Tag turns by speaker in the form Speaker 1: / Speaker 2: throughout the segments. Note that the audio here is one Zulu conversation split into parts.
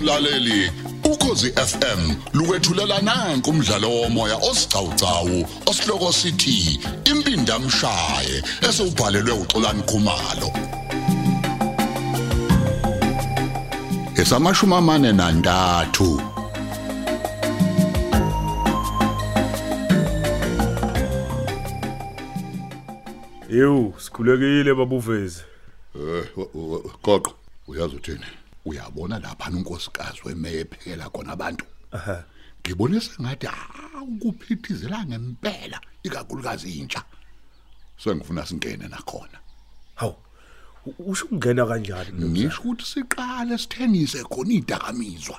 Speaker 1: mlaleli ukhosi FM lukwethulela nanku umdlalo womoya osiqhawqhawo osihloko sithi impindi amshaye esubhalelwe uXolani Khumalo esamashumi amane nantathu
Speaker 2: Yew, sikhulekile babuveze.
Speaker 1: Eh, w- w- qoqo uyazi uthini uyabona lapha unkosikazi wemeya ephekela khona abantu
Speaker 2: Aha.
Speaker 1: ngibonisa ngathi akuphithizela ngempela ikakhulukazi intsha sengifuna singene nakhona
Speaker 2: Haw. u- Usho ukungena kanjani? lo?
Speaker 1: ngisho ukuthi siqale sithenise khona idakamizwa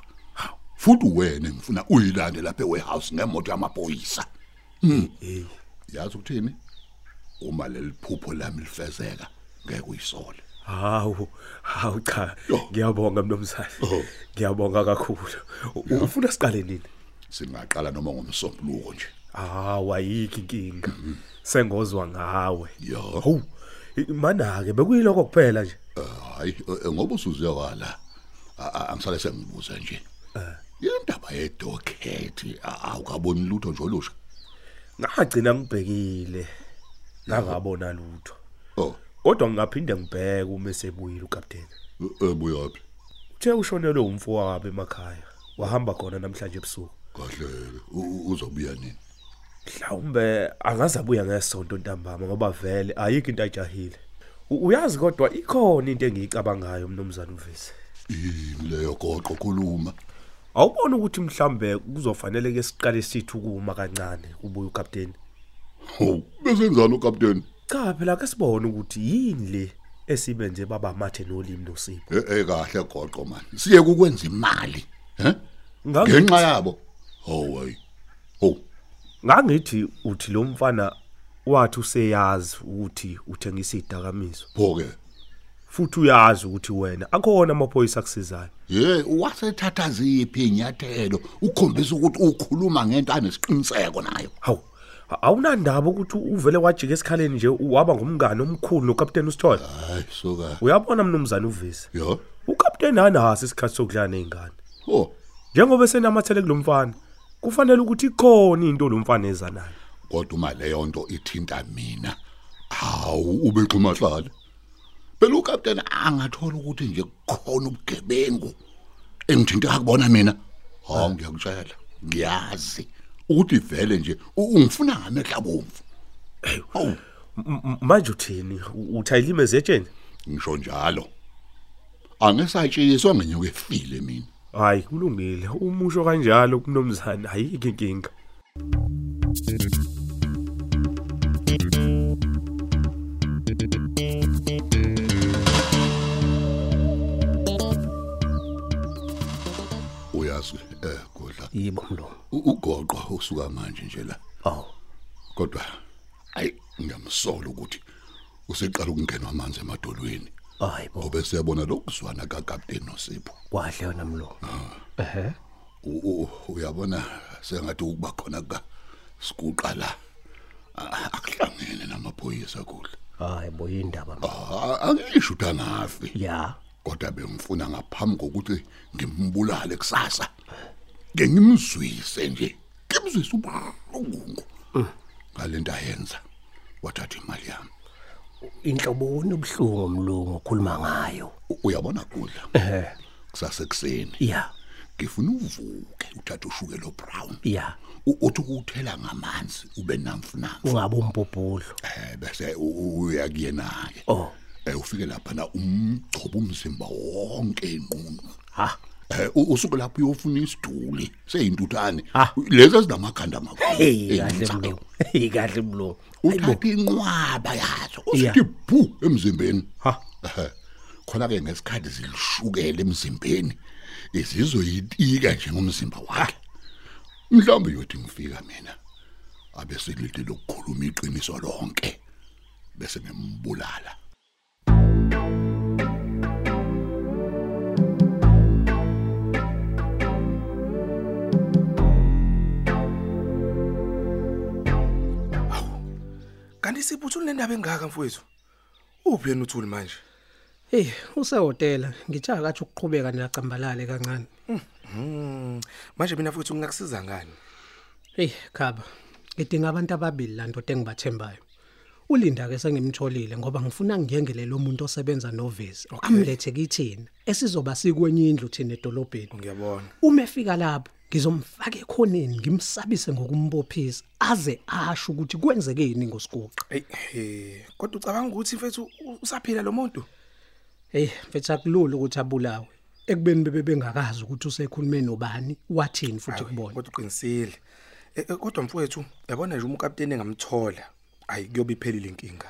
Speaker 1: futhi wena ngifuna uyilande lapha ewarehouse ngemoto yamaphoyisa Hmm.
Speaker 2: Hey.
Speaker 1: yazi ukuthini uma leli phupho lami lifezeka ngeke uyisole
Speaker 2: Hawu. Hawu cha.
Speaker 1: Yo.
Speaker 2: Ngiyabonga mnumzane.
Speaker 1: Oh.
Speaker 2: Ngiyabonga kakhulu. U- Ufuna siqale nini?
Speaker 1: singaqala noma ngomsombuluko nje
Speaker 2: Hawu ayiki inkinga. Sengozwa ngawe.
Speaker 1: yo
Speaker 2: Hawu. i- Mana ke bekuyiloko kuphela nje.
Speaker 1: hayi eh, ngoba usuziyawala a- a- angisale sengibuza nje indaba yedokhethi awukaboni lutho nje olusha
Speaker 2: Ngagcina ngibhekile. Ngangabona lutho.
Speaker 1: oh
Speaker 2: Kodwa ngingaphinde ngibheke uma esebuyile ukapteni.
Speaker 1: eh, ebuyaphi
Speaker 2: Uthe ushonelwe umfowabo wabo emakhaya. Wahamba khona namhlanje ebusuku.
Speaker 1: kahle u- u- uzobuya nini
Speaker 2: mhlawumbe angazabuya ngesonto ntambama ngoba vele ayikho into ajahile U- uyazi kodwa ikhona into engiyicabangayo mnumzane uvisi
Speaker 1: yini leyo goqo khuluma
Speaker 2: awubona ukuthi mhlawumbe kuzofanele ke siqale sithi ukuma kancane ubuye ukapteni
Speaker 1: Oh, besenzana uCaptain?
Speaker 2: cha phela ke sibone ukuthi yini le esibenze baba amathe nolimi nosipho
Speaker 1: Eh eh, kahle goqo man. Siye ukwenza imali, he?
Speaker 2: Ngangi-
Speaker 1: Ngenxa yabo. Oh way. Oh,
Speaker 2: ngangithi uthi lo mfana wathi useyazi ukuthi uthengisa idakamizwa
Speaker 1: phoke.
Speaker 2: futhi uyazi ukuthi wena akhona amaphoyisa akusizayo
Speaker 1: Hey, wasethatha ziphi inyathelo ukukhombisa ukuthi ukhuluma ngento anesiqiniseko nayo.
Speaker 2: Hawu a- awunandaba ukuthi uvele wajika esikhaleni nje waba ngumngane omkhulu nokapteni usithole
Speaker 1: Hayi, soka.
Speaker 2: uyabona mnumzane uvisi
Speaker 1: Yo.
Speaker 2: ukapteni anaso isikhathi sokudlala ney'ngane
Speaker 1: Oh,
Speaker 2: njengoba esenamathele kulo mfana kufanele ukuthi ikhona into lo mfana eza nayo
Speaker 1: kodwa uma leyo nto ithinta mina, hawu ubexhumahlala. Phela uCaptain angathola ukuthi nje kukhona ubugebengu engithinta akubona mina. Hawu ngiyakutshela, ngiyazi ukuthi vele nje u- ungifuna ngamehla bomvu. Hawu
Speaker 2: M- m- manje uthini U- uthi ayilimeze etsheni
Speaker 1: ngisho njalo. Angesatshiswa ngenyuke efile mina.
Speaker 2: hhayi kulungile umusho kanjalo kumnumzane ayikho inkinga
Speaker 1: Uyazi eh kodla
Speaker 3: yibo mlo
Speaker 1: u- ugoqo usuka manje nje la.
Speaker 3: aw
Speaker 1: Kodwa ayi ngiyamsola ukuthi useqala ukungenwa amanzi emadolweni.
Speaker 3: hayibo
Speaker 1: Ngoba siyabona lokuzwana kaCaptain noSipho.
Speaker 3: kwahle wena mlo ehe
Speaker 1: U- u- uyabona sengathi ukuba khona ka sikuqa la a- akuhlangene namaphoyisa kule
Speaker 3: hayibo yindaba mlo
Speaker 1: Ah, angisho ukuthi angafi
Speaker 3: ya
Speaker 1: kodwa bengifuna ngaphambi kokuthi ngimbulale kusasa ke ngimzwise nje ngimzwise ubuhlungu ngalento ayenza wathatha imali yami
Speaker 3: inhlobo nobuhlungu mlo ngokhuluma ngayo
Speaker 1: U- uyabona kudla
Speaker 3: ehe
Speaker 1: kusase kuseni
Speaker 3: ya
Speaker 1: ngifuna uvuke uthathe ushukelo brown
Speaker 3: ya
Speaker 1: u- uthi ukuthela ngamanzi ube namfunamfu
Speaker 3: ungabe umpophulo
Speaker 1: eh bese u- u- uya kuyena ke
Speaker 3: oh
Speaker 1: eh ufike lapha na umgcobo umzimba wonke inqunu
Speaker 3: ha
Speaker 1: eh u- usuke lapho uyofuna isiduli seyintuthane
Speaker 3: Ah.
Speaker 1: lezi zinamakhanda amakhulu
Speaker 3: hey kahle
Speaker 1: eyinhlaka.
Speaker 3: mlo hey kahle mlo
Speaker 1: uthatha inqwaba yazo
Speaker 3: Yeah.
Speaker 1: usithi bhu emzimbeni
Speaker 3: ha
Speaker 1: Eh, khona ke ngesikhathi zilishukela emzimbeni izizoyitika nje ngomzimba wakhe mhlawumbe yothi ngifika mina abe silide lokukhuluma iqiniso lonke bese ngembulala
Speaker 4: kanti siphuthule ndaba engaka mfowethu uphi yena uthuli manje Hey, usehotela ngitshaka kathi ukuqhubeka nelacambalale kancane.
Speaker 5: manje mina futhi ngingakusiza ngani
Speaker 4: Hey, khaba. Ngidinga abantu ababili la ndoda engibathembayo. Ulinda ke sengimtholile ngoba ngifuna ngiyengele lo muntu osebenza novezi. Amlethe kithina esizoba sikwenye indlu thina edolobheni.
Speaker 5: ngiyabona
Speaker 4: Uma efika lapho ngizomfaka ekhoneni ngimsabise ngokumbophisa aze asho ukuthi kwenzekeni ngosiguqa.
Speaker 5: Ey, eh kodwa ucabanga ukuthi mfethu u- usaphila lo muntu
Speaker 4: Hey, mfethu akulula ukuthi abulawe. Ekubeni bebe bengakazi ukuthi usekhulume nobani, wathini futhi kubona.
Speaker 5: kodwa uqinisile Eh, eh, kodwa mfowethu yabona nje umkapteni engamthola ayi kuyobe iphelile inkinga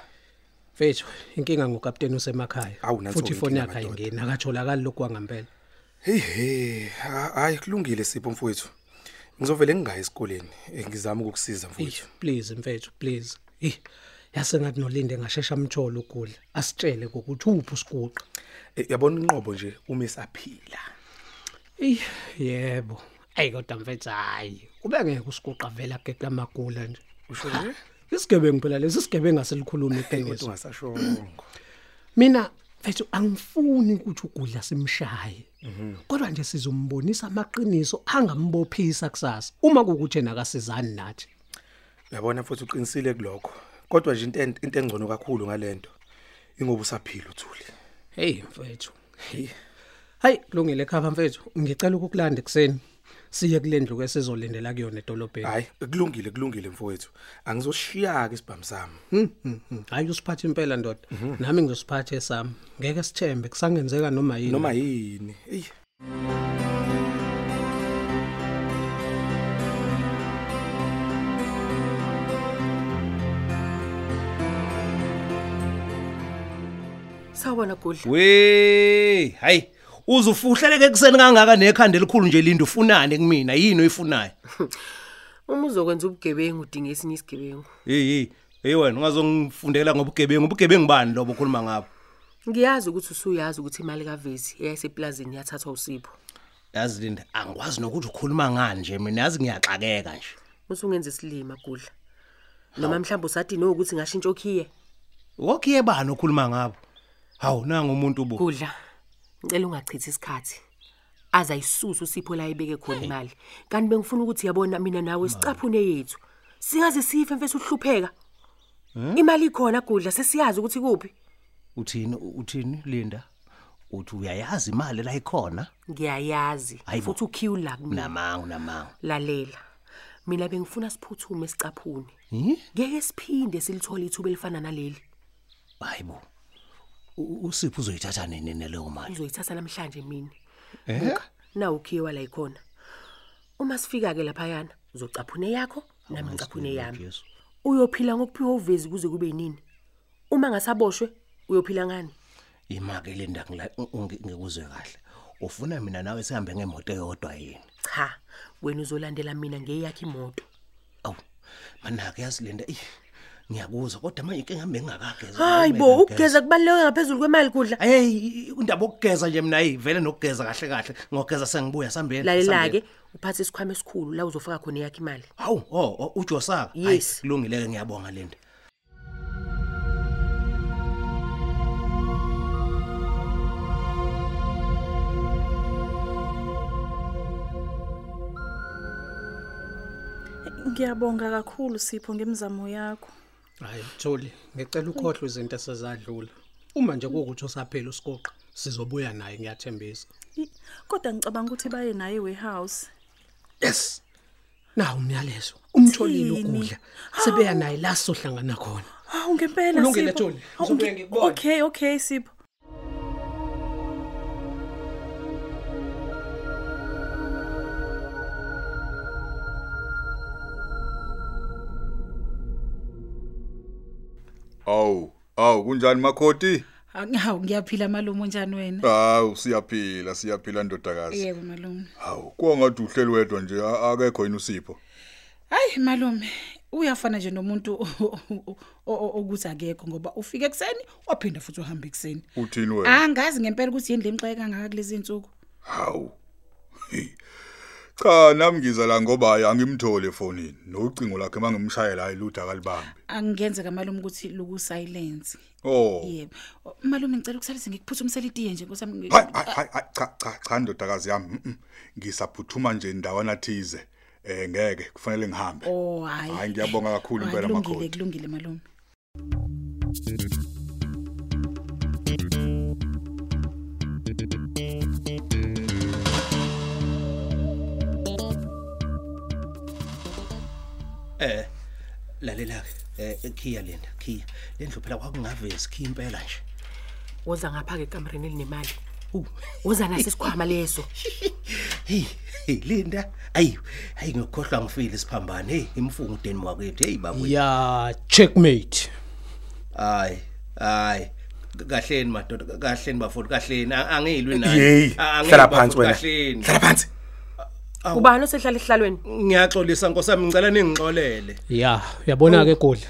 Speaker 4: Mfethu, inkinga ngokapteni usemakhaya.
Speaker 5: Awu, nansi
Speaker 4: Futhi ifoni
Speaker 5: inkinga,
Speaker 4: yakhe
Speaker 5: madoda.
Speaker 4: ayingeni, akatholakali lokhu kwangempela.
Speaker 5: hey hey ha- hayi kulungile sipho mfowethu ngizovele ngingaya esikoleni Eh, ngizama ukukusiza mfowethu
Speaker 4: Eish, Please mfethu, please. Eh, yasengathi nolinde ngashesha amthola ukudla. Asitshele ukuthi uphi usiguqa.
Speaker 5: Eh, yabona inqobo nje uma esaphila
Speaker 4: Eh, yebo. Ayi kodwa mfethu hayi. Kube ngeke usiguqa vela geqa amagula nje.
Speaker 5: usho nje
Speaker 4: Isigebengu phela lesi sigebengu asilikhulumi
Speaker 5: kodwa
Speaker 4: iqiniso.
Speaker 5: ungasashongo
Speaker 4: Mina mfethu angifuni ukuthi ugudla simshaye. Kodwa nje sizombonisa amaqiniso angambophisa kusasa uma kukuthi yena akasizani nathi.
Speaker 5: yabona futhi uqinisile kulokho kodwa nje into en- into engcono kakhulu ngalento ingoba usaphila uthuli
Speaker 4: Hey mfethu. Hayi kulungile khapha mfethu, ngicela ukukulanda ekseni. Siye kulendlu kwesizolindela kuyona edolobheni.
Speaker 5: hayi kulungile kulungile mfowethu angizoshiya ke isibhamu sami
Speaker 4: Mhm, Hayi usiphathe impela ndoda.
Speaker 5: Mhm.
Speaker 4: Nami ngizosiphathe sami. Ngeke sithembe kusangenzeka noma yini.
Speaker 5: noma yini eyi
Speaker 6: Sawubona Gudla.
Speaker 3: We, hayi. Uzufuhleleke ekseni kangaka nekhanda elikhulu nje linda ufunane kumina yini oyifunayo?
Speaker 6: Uma uzokwenza ubugebengu udinga esinye isigebengu.
Speaker 3: Hey hey. Hey wena ungazongifundela ngobugebengu. Ubugebengu bani lobo okhuluma ngabo?
Speaker 6: Ngiyazi ukuthi usuyazi ukuthi imali kaVethi eyayiseplazini yathathwa usipho.
Speaker 3: Yazi Linda, angikwazi nokuthi ukhuluma ngani nje mina yazi ngiyaxakeka nje.
Speaker 6: Usungenza isilima Gudla. Noma mhlawumbe usadini ukuthi ngashintsha okhiye.
Speaker 3: Wokhiye bani okhuluma ngabo? Hawu nanga umuntu bo.
Speaker 6: Gudla. Ngicela ungachithi isikhathi. Aza isusu sipho la ibeke khona imali. Kanti bengifuna ukuthi yabona mina nawe sicaphune yethu. Singaze sife mfethu uhlupheka. Imali ikhona Gudla sesiyazi ukuthi kuphi.
Speaker 3: Uthini uthini Linda? Uthi uyayazi imali la ikhona?
Speaker 6: Ngiyayazi
Speaker 3: Hayi bo.
Speaker 6: futhi ukhiwu la kumina.
Speaker 3: Namangu namangu.
Speaker 6: lalela mina bengifuna siphuthume sicaphune
Speaker 3: Hi?
Speaker 6: ngeke siphinde silithole ithuba elifana naleli
Speaker 3: Hayibo. U- Usipho uzoyithatha nini neleyo mali?
Speaker 6: ngizoyithatha namhlanje mina
Speaker 3: Eh?
Speaker 6: na ukhiwa la ikhona uma sifika ke laphayana uzocaphune yakho nami ngicaphune yami
Speaker 3: Jesu.
Speaker 6: uyophila ngokuphiwa uvezi kuze kube yinini uma ngasaboshwe uyophila ngani
Speaker 3: Imake Linda ngila- ng- ng- ngikuzwe kahle. Ufuna mina nawe sihambe ngemoto eyodwa yini?
Speaker 6: cha wena uzolandela mina ngeyakho imoto
Speaker 3: Awu. Manake yazi Linda, eh, ngiyakuzwa kodwa manje inkinga hambe ngakageza.
Speaker 6: hayi bo ukugeza kubaluleke ngaphezulu kwemali kudla
Speaker 3: Hey, indaba yokugeza nje mina hey vele nokugeza kahle kahle. Ngogeza sengibuya sambeni.
Speaker 6: lalela-ke uphathe isikhwama esikhulu la uzofaka khona yakho imali
Speaker 3: Hawu, oh, oh, uJosaka. Hayi,
Speaker 6: Yes.
Speaker 3: kulungile ke ngiyabonga Linda.
Speaker 7: Ngiyabonga kakhulu Sipho ngemizamo yakho.
Speaker 4: Hayi Tholi, ngicela ukhohlwe izinto esezadlula. Uma nje kuwukuthi usaphela usiguqa, sizobuya naye ngiyathembisa.
Speaker 7: I- Kodwa ngicabanga ukuthi baye naye warehouse.
Speaker 4: Yes. Na umyalezo. Umtholile
Speaker 7: Uthini?
Speaker 4: ukudla. Sebeya naye la sohlangana khona.
Speaker 7: Hawu ngempela Sipho.
Speaker 4: Ulungile, Thuli.
Speaker 7: Hawu,
Speaker 4: Ngizobuye
Speaker 7: ngi-
Speaker 4: ngikubone.
Speaker 7: Okay, okay Sipho.
Speaker 8: Awu, awu kunjani makhoti?
Speaker 9: Hawu ngiyaphila malume unjani wena?
Speaker 8: Hawu siyaphila, siyaphila ndodakazi.
Speaker 9: Yebo malume.
Speaker 8: Hawu, kongathi uhleli wedwa nje a- akekho yini usipho.
Speaker 9: Hayi malume, uyafana nje nomuntu o- o- o- ukuthi akekho ngoba ufike ekseni waphinda futhi uhamba ekseni.
Speaker 8: Uthini wena?
Speaker 9: Angazi ngempela ukuthi yini lemxeke kangaka kulezi insuku.
Speaker 8: Hawu. Hey. Cha nami ngiza la ngoba hayi angimthole efonini. Nocingo lakhe mangimshayela hayi luda kalibambi.
Speaker 9: Angenzeka malume ukuthi luku silence.
Speaker 8: Oh.
Speaker 9: Yebo. Malume ngicela ukusalise ngikuphuthumisela itiye nje Nkosi yami.
Speaker 8: Hayi hayi hayi hayi, cha cha cha ndodakazi yami. mm, mm. Ngisaphuthuma nje indawana thize. Eh ngeke kufanele ngihambe.
Speaker 9: Oh hayi.
Speaker 8: Hayi, ngiyabonga kakhulu impela,
Speaker 9: Hayi, kulungile,
Speaker 8: makhoti.
Speaker 9: Kulungile malume.
Speaker 3: Eh lalela eh ekhiya lenda khiya lendlu phela kwakungavezi khiya impela nje.
Speaker 6: Woza ngapha ke kamereni elinemali. Woza nasi isikhwama leso.
Speaker 3: Hey hey Linda ayi ayi ngikhohlwa ngifile isiphambane hey imfungu deni wakwethu hey bakwethu.
Speaker 4: ya checkmate
Speaker 3: Hayi hayi kahleni madoda kahleni bafoti kahleni A- angilwi
Speaker 5: Yey,
Speaker 3: naye A- angilwi,
Speaker 5: hlala
Speaker 3: bafowethu,
Speaker 5: phansi wena.
Speaker 3: kahleni
Speaker 5: Hlala phansi.
Speaker 6: Ubani osehlala ehlalweni?
Speaker 3: ngiyaxolisa nkosami ngicela ningixolele
Speaker 4: ya uyabona ke godla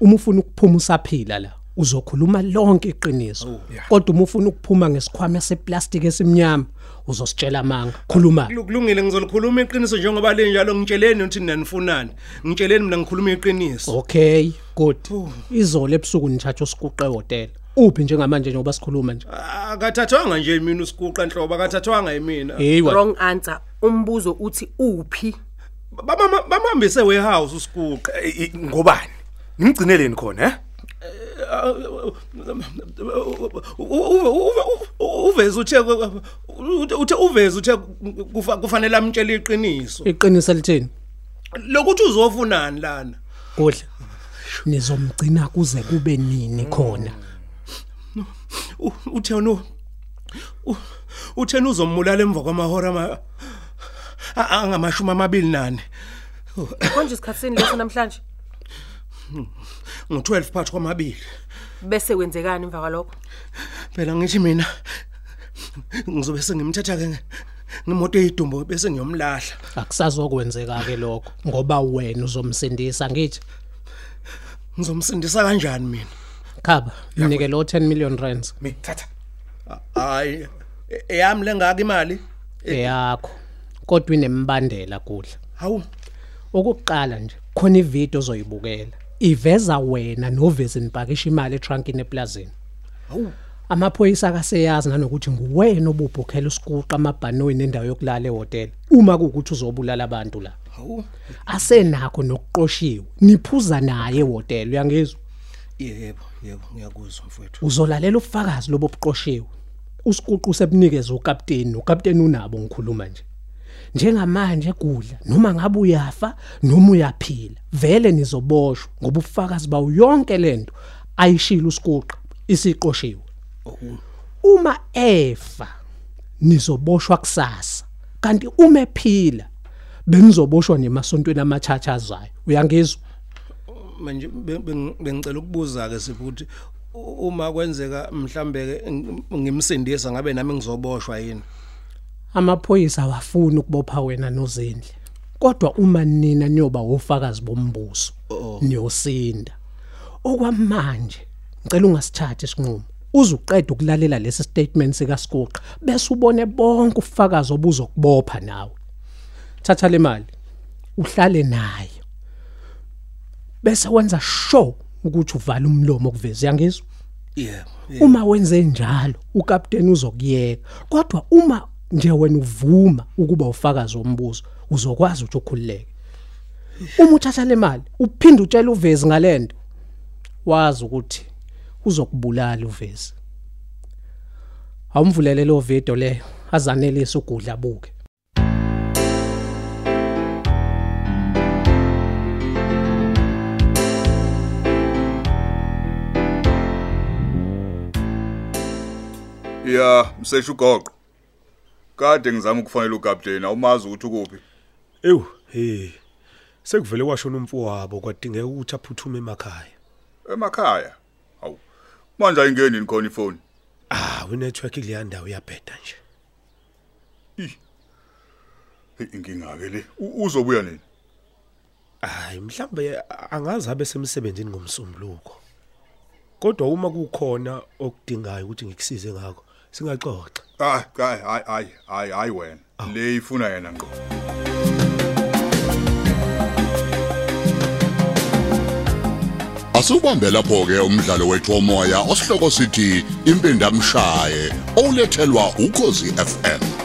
Speaker 4: Oh. uma ufuna ukuphuma usaphila la uzokhuluma lonke iqiniso kodwa uma ufuna ukuphuma ngesikhwama seplastic esimnyama uzositshela amanga khuluma
Speaker 3: kulungile ngizolikhuluma iqiniso njengoba linjalo ngitsheleni ukuthi nina nifunani ngitsheleni mina ngikhuluma iqiniso
Speaker 4: okay good izolo ebusuku nithatha usikuqe hotel uphi njengamanje njengoba sikhuluma nje
Speaker 3: akathathwanga nje mina usikuqa nhlobo akathathwanga yimina
Speaker 4: hey wa
Speaker 6: Wrong answer. Umbuzo uthi uphi?
Speaker 3: Bamama- bamhambise warehouse usikuqa
Speaker 5: Eh, eh, Ngobani? Nimgcineleni khona, eh?
Speaker 3: uveze uthe uthe uveze uthe kufa- kufanele amtshele iqiniso
Speaker 4: iqiniso litheni
Speaker 3: lokuthi uzofunani lana
Speaker 4: godla nizomgcina kuze kube nini khona
Speaker 3: U- uthena u- u- uthena uzombulala emva kwamahora ama a- angamashumi amabili nane
Speaker 6: Konje isikhatsini leso namhlanje?
Speaker 3: ngo-12 phakathi kwamabili
Speaker 6: Bese kwenzekani emva kwalokho?
Speaker 3: phela ngithi mina ngizobe sengimthatha ke ngemoto eyidumbo bese ngiyomlahla
Speaker 4: akusazokwenzeka ke lokho ngoba wena uzomsindisa ngithi
Speaker 3: ngizomsindisa kanjani mina
Speaker 4: khaba mnike lo 10 million rands
Speaker 5: Mithatha.
Speaker 3: hayi e- eyami lengaka imali
Speaker 4: eyakho Eh, kodwa inembandela kudla
Speaker 3: hawu
Speaker 4: okuqala nje khona ivideo ozoyibukela iveza wena novezi nipakisha imali etrunkini eplazini amaphoyisa akaseyazi nanokuthi nguwena obubhukhela usikuqa amabhanoyi nendawo yokulala ehhotela uma kuwukuthi uzobulala abantu la
Speaker 3: hawu
Speaker 4: asenakho nokuqoshiwe niphuza naye ehhotela uyangizwa
Speaker 3: yebo yebo ngiyakuzwa mfowethu
Speaker 4: uzolalela ubufakazi lobo obuqoshiwe usikuqu sebunikeza ukapteni ukapteni unabo ngikhuluma nje njengamanje kudla noma ngabe uyafa noma uyaphila vele nizoboshwa ngoba ubufakazi bawo yonke lento ayishila usikuqa isiqoshiwe uma efa nizoboshwa kusasa kanti uma ephila benizoboshwa nemasontweni amachacha azayo uyangizwa
Speaker 3: manje be- bengi- bengicela ukubuza ke sipho ukuthi u- uma kwenzeka mhlambe ke ng- ngimsindisa ngabe nami ngizoboshwa yini
Speaker 4: amaphoyisa awafuni ukubopha wena nozindle kodwa uma nina niyoba ofakazi bombuso niyosinda okwamanje ngicela ungasithatha isinqumo uzuqeda ukulalela lesi statement sika Skuqa bese ubone bonke ufakazi obuzokubopha nawe thatha le mali uhlale naye bese wenza sure ukuthi uvala umlomo ukuveza yangizwa
Speaker 3: yebo yebo.
Speaker 4: uma wenze njalo ukapteni uzokuyeka kodwa uma nje wena uvuma ukuba ufakazi wombuzo uzokwazi ukuthi ukhululeke uma uthatha le mali uphinde utshela uvezi ngalento wazi ukuthi uzokubulala uvezi awumvulele lo video leyo azanelise ugudla buke
Speaker 8: Ya, mseshu goqo. Kade ngizama ukufanele ukapteni awumazi ukuthi ukuphi.
Speaker 2: Ewu, hey. Sekuvele washona umfo wabo kwadingeka ukuthi aphuthume emakhaya.
Speaker 8: Emakhaya. Hawu. Manje ayingeni yini khona ifoni.
Speaker 2: Ah, unetwork kuleya ndawo iyabheda nje.
Speaker 8: Hey, Inkinga ke le. U- Uzobuya nini?
Speaker 2: Hayi, mhlambe angazi abe semsebenzini ngomsombuluko. Kodwa uma kukhona okudingayo ukuthi ngikusize ngakho, singaxoxa.
Speaker 8: Hayi, hayi, hayi, hayi, hayi wena. Le ifuna yena ngqo.
Speaker 1: Asubambe lapho ke umdlalo wethu omoya osihloko sithi impindamshaye olethelwa ukozi FM.